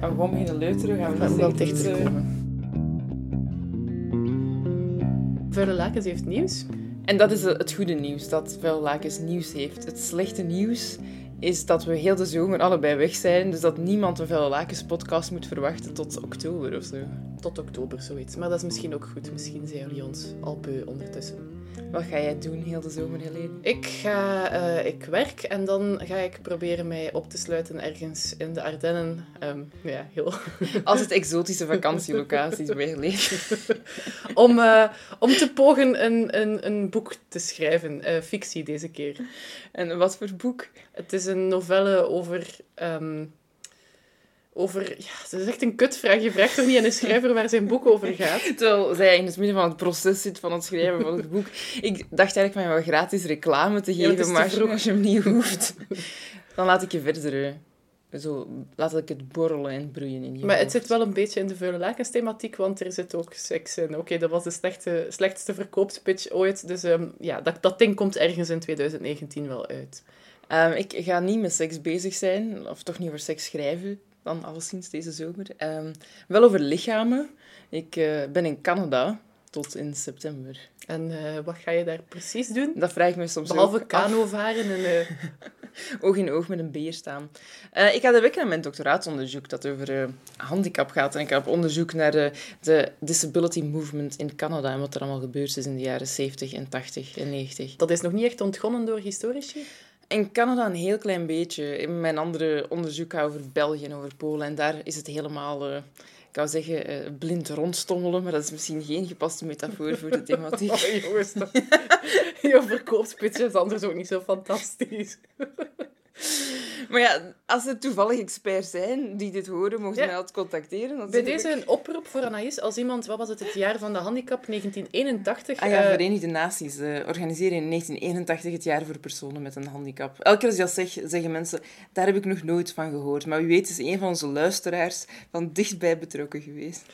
En we beginnen luisteren, gaan we Van niet wel zeggen, dichter eh, komen. Vuile Lakens heeft nieuws. eh, En dat is het goede nieuws, dat Vuillakens nieuws heeft. Het slechte nieuws is dat we heel de zomer allebei weg zijn, dus dat niemand een Vuillakens podcast moet verwachten tot oktober of zo. Tot oktober, zoiets. Maar dat is misschien ook goed. Misschien zijn jullie ons al beu ondertussen. Wat ga jij doen heel de zomer, Helene? Ik, ga, eh, ik werk en dan ga ik proberen mij op te sluiten ergens in de Ardennen. Ehm, ja, heel Altijd exotische vakantielocaties bij Helene. om, eh, om te pogen een, een, een boek te schrijven. Eh, fictie deze keer. En wat voor boek? Het is een novelle over. ehm, over ja, dat is echt een kutvraag. Je vraagt toch niet aan een schrijver waar zijn boek over gaat? Terwijl zij in het midden van het proces zit van het schrijven van het boek. Ik dacht eigenlijk mij wel gratis reclame te Ja, maar het geven, is te maar vroeg. als je hem niet hoeft, dan laat ik je verder. eh, Zo, laat ik het borrelen en broeien in je Maar het hoofd. zit wel een beetje in de vuile lakens thematiek, want er zit ook seks in. Oké, dat was de slechte, slechtste verkoopspitch ooit. Dus ehm, ja, dat, dat ding komt ergens in 2019 wel uit. Ehm, ik ga niet met seks bezig zijn, of toch niet over seks schrijven, dan alleszins deze zomer. Ehm, wel over lichamen. Ik eh, ben in Canada tot in september. En eh, wat ga je daar precies doen? Dat vraag ik me soms Behalve ook af. kano varen en... eh, oog in oog met een beer staan. Eh, ik had week naar mijn doctoraatonderzoek dat over eh, handicap gaat. En ik heb onderzoek naar eh, de disability movement in Canada en wat er allemaal gebeurd is in de jaren 70 en 80 en 90. dat is nog niet echt ontgonnen door historici. In Canada een heel klein beetje. In mijn andere onderzoek gaat over België en over Polen. En daar is het helemaal, eh, ik zou zeggen, eh, blind rondstommelen. Maar dat is misschien geen gepaste metafoor voor de Oh, thematiek. jongens, dat... je verkoopspitch is anders ook niet zo fantastisch. Maar ja, als er toevallig experts zijn die dit horen, mogen ze Ja. mij altijd contacteren. Bij natuurlijk. deze een oproep voor Anaïs. Als iemand, wat was het, het jaar van de handicap, 1981. Ah ja, eh, Verenigde Naties eh, organiseren in 1981 het jaar voor personen met een handicap. Elke keer als je dat zegt, zeggen mensen, daar heb ik nog nooit van gehoord. Maar wie weet is een van onze luisteraars van dichtbij betrokken geweest.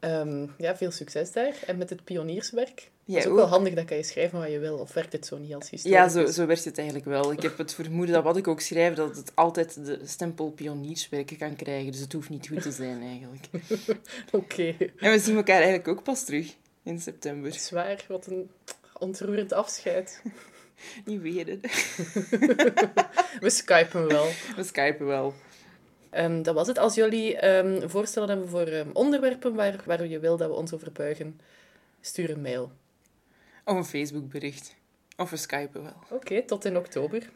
ehm, ja, veel succes daar. En met het pionierswerk. Jij dat is ook, ook? wel handig, dat kan je schrijven wat je wil. Of werkt het zo niet als historicus? Ja, zo, zo werd het eigenlijk wel. Ik heb het vermoeden dat wat ik ook schrijf, dat het altijd de stempel pionierswerken kan krijgen. Dus het hoeft niet goed te zijn eigenlijk. Oké. En we zien elkaar eigenlijk ook pas terug in september. Zwaar, wat een ontroerend afscheid. Niet weer, hè. We skypen wel. We skypen wel. Ehm, dat was het. Als jullie ehm, voorstellen hebben voor ehm, onderwerpen waar, waar je wil dat we ons over buigen, stuur een mail. Of een Facebookbericht. Of we skypen wel. Oké, tot in oktober.